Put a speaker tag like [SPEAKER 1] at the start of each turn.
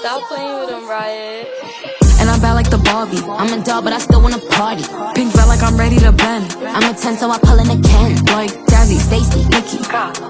[SPEAKER 1] Stop playing with them, Riot.
[SPEAKER 2] And I'm bad like the Barbie. I'm a doll, but I still wanna party. Pink felt like I'm ready to bend. I'm a 10, so I pull in a Ken. Like Jazzy, Stacy, Nikki.